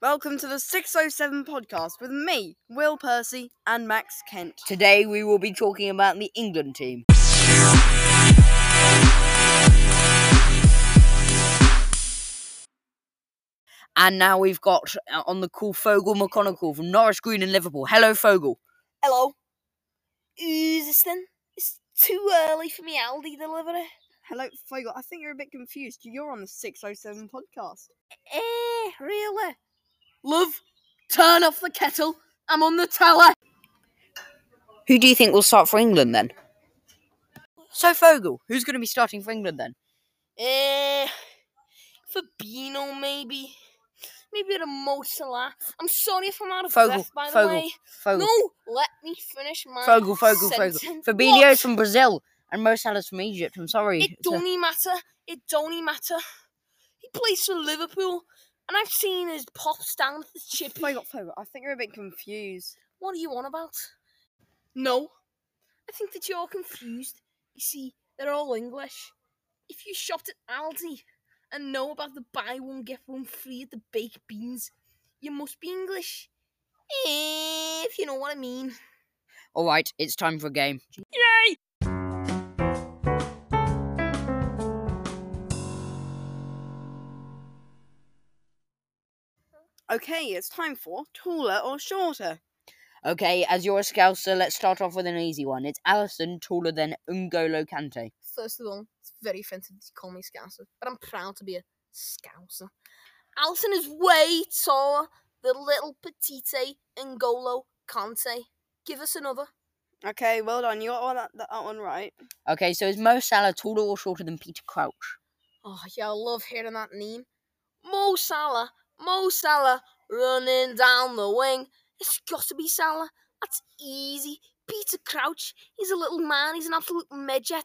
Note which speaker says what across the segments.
Speaker 1: Welcome to the 607 podcast with me, Will Percy, and Max Kent.
Speaker 2: Today we will be talking about the England team. And now we've got uh, on the call Fogel McConaughey from Norwich Green in Liverpool. Hello, Fogel.
Speaker 3: Hello. Who's this then? It's too early for me Aldi delivery.
Speaker 1: Hello, Fogel. I think you're a bit confused. You're on the 607 podcast.
Speaker 3: Eh, really?
Speaker 4: Love, turn off the kettle. I'm on the tower.
Speaker 2: Who do you think will start for England then? So, Fogel, who's going to be starting for England then?
Speaker 3: Eh, Fabino maybe. Maybe the Mo Salah. I'm sorry if I'm out of
Speaker 2: Fogel,
Speaker 3: breath, by the
Speaker 2: Fogel,
Speaker 3: way.
Speaker 2: Fogel,
Speaker 3: No, let me finish my
Speaker 2: Fogel, Fogel, Fogel.
Speaker 3: sentence.
Speaker 2: Fabinho's
Speaker 3: What?
Speaker 2: from Brazil and Mo Salah's from Egypt. I'm sorry. uh,
Speaker 3: It
Speaker 2: to-
Speaker 3: don't even matter. It don't even matter. He plays for Liverpool, and I've seen his pops down at the chip.
Speaker 1: Fogel, Fogel, I think you're a bit confused.
Speaker 3: What are you on about?
Speaker 4: No.
Speaker 3: I think that you're confused. You see, they're all English. If you shopped at Aldi and know about the buy one get one free at the baked beans, you must be English. If you know what I mean.
Speaker 2: All right, it's time for a game. Yay!
Speaker 1: Okay, it's time for taller or shorter.
Speaker 2: Okay, as you're a scouser, let's start off with an easy one. It's Allison taller than Ungolo Kante.
Speaker 3: First of all, it's very offensive to call me Scouser, but I'm proud to be a Scouser. Alison is way taller than little petite Ngolo Kante. Give us another.
Speaker 1: Okay, well done. You got all that, that one right.
Speaker 2: Okay, so is Mo Salah taller or shorter than Peter Crouch?
Speaker 3: Oh, yeah, I love hearing that name. Mo Salah, Mo Salah, running down the wing. It's got to be Salah. That's easy. Peter Crouch, he's a little man, he's an absolute midget.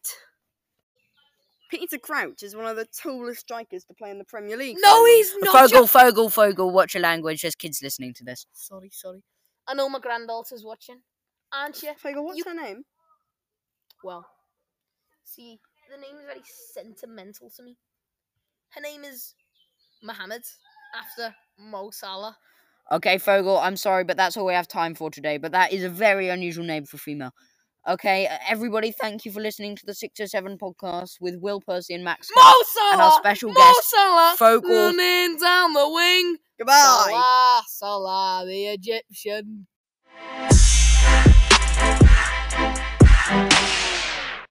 Speaker 1: Peter Crouch is one of the tallest strikers to play in the Premier League.
Speaker 3: No,
Speaker 1: Fogel.
Speaker 3: he's not.
Speaker 2: Fogel,
Speaker 3: Jeff-
Speaker 2: Fogel, Fogel, watch your language. There's kids listening to this.
Speaker 3: Sorry, sorry. I know my granddaughter's watching. Aren't you?
Speaker 1: Fogel, what's
Speaker 3: You-
Speaker 1: her name?
Speaker 3: Well, see, the name is very sentimental to me. Her name is Mohammed, after Mo Salah.
Speaker 2: Okay, Fogel, I'm sorry, but that's all we have time for today. But that is a very unusual name for a female. Okay, uh, everybody, thank you for listening to the 607 podcast with Will Percy and Max.
Speaker 3: Mo
Speaker 2: and our
Speaker 3: Salah!
Speaker 2: special
Speaker 3: Mo
Speaker 2: guest,
Speaker 3: Salah!
Speaker 2: Fogel.
Speaker 3: Running down the wing!
Speaker 1: Goodbye.
Speaker 3: Salah, Salah, the Egyptian.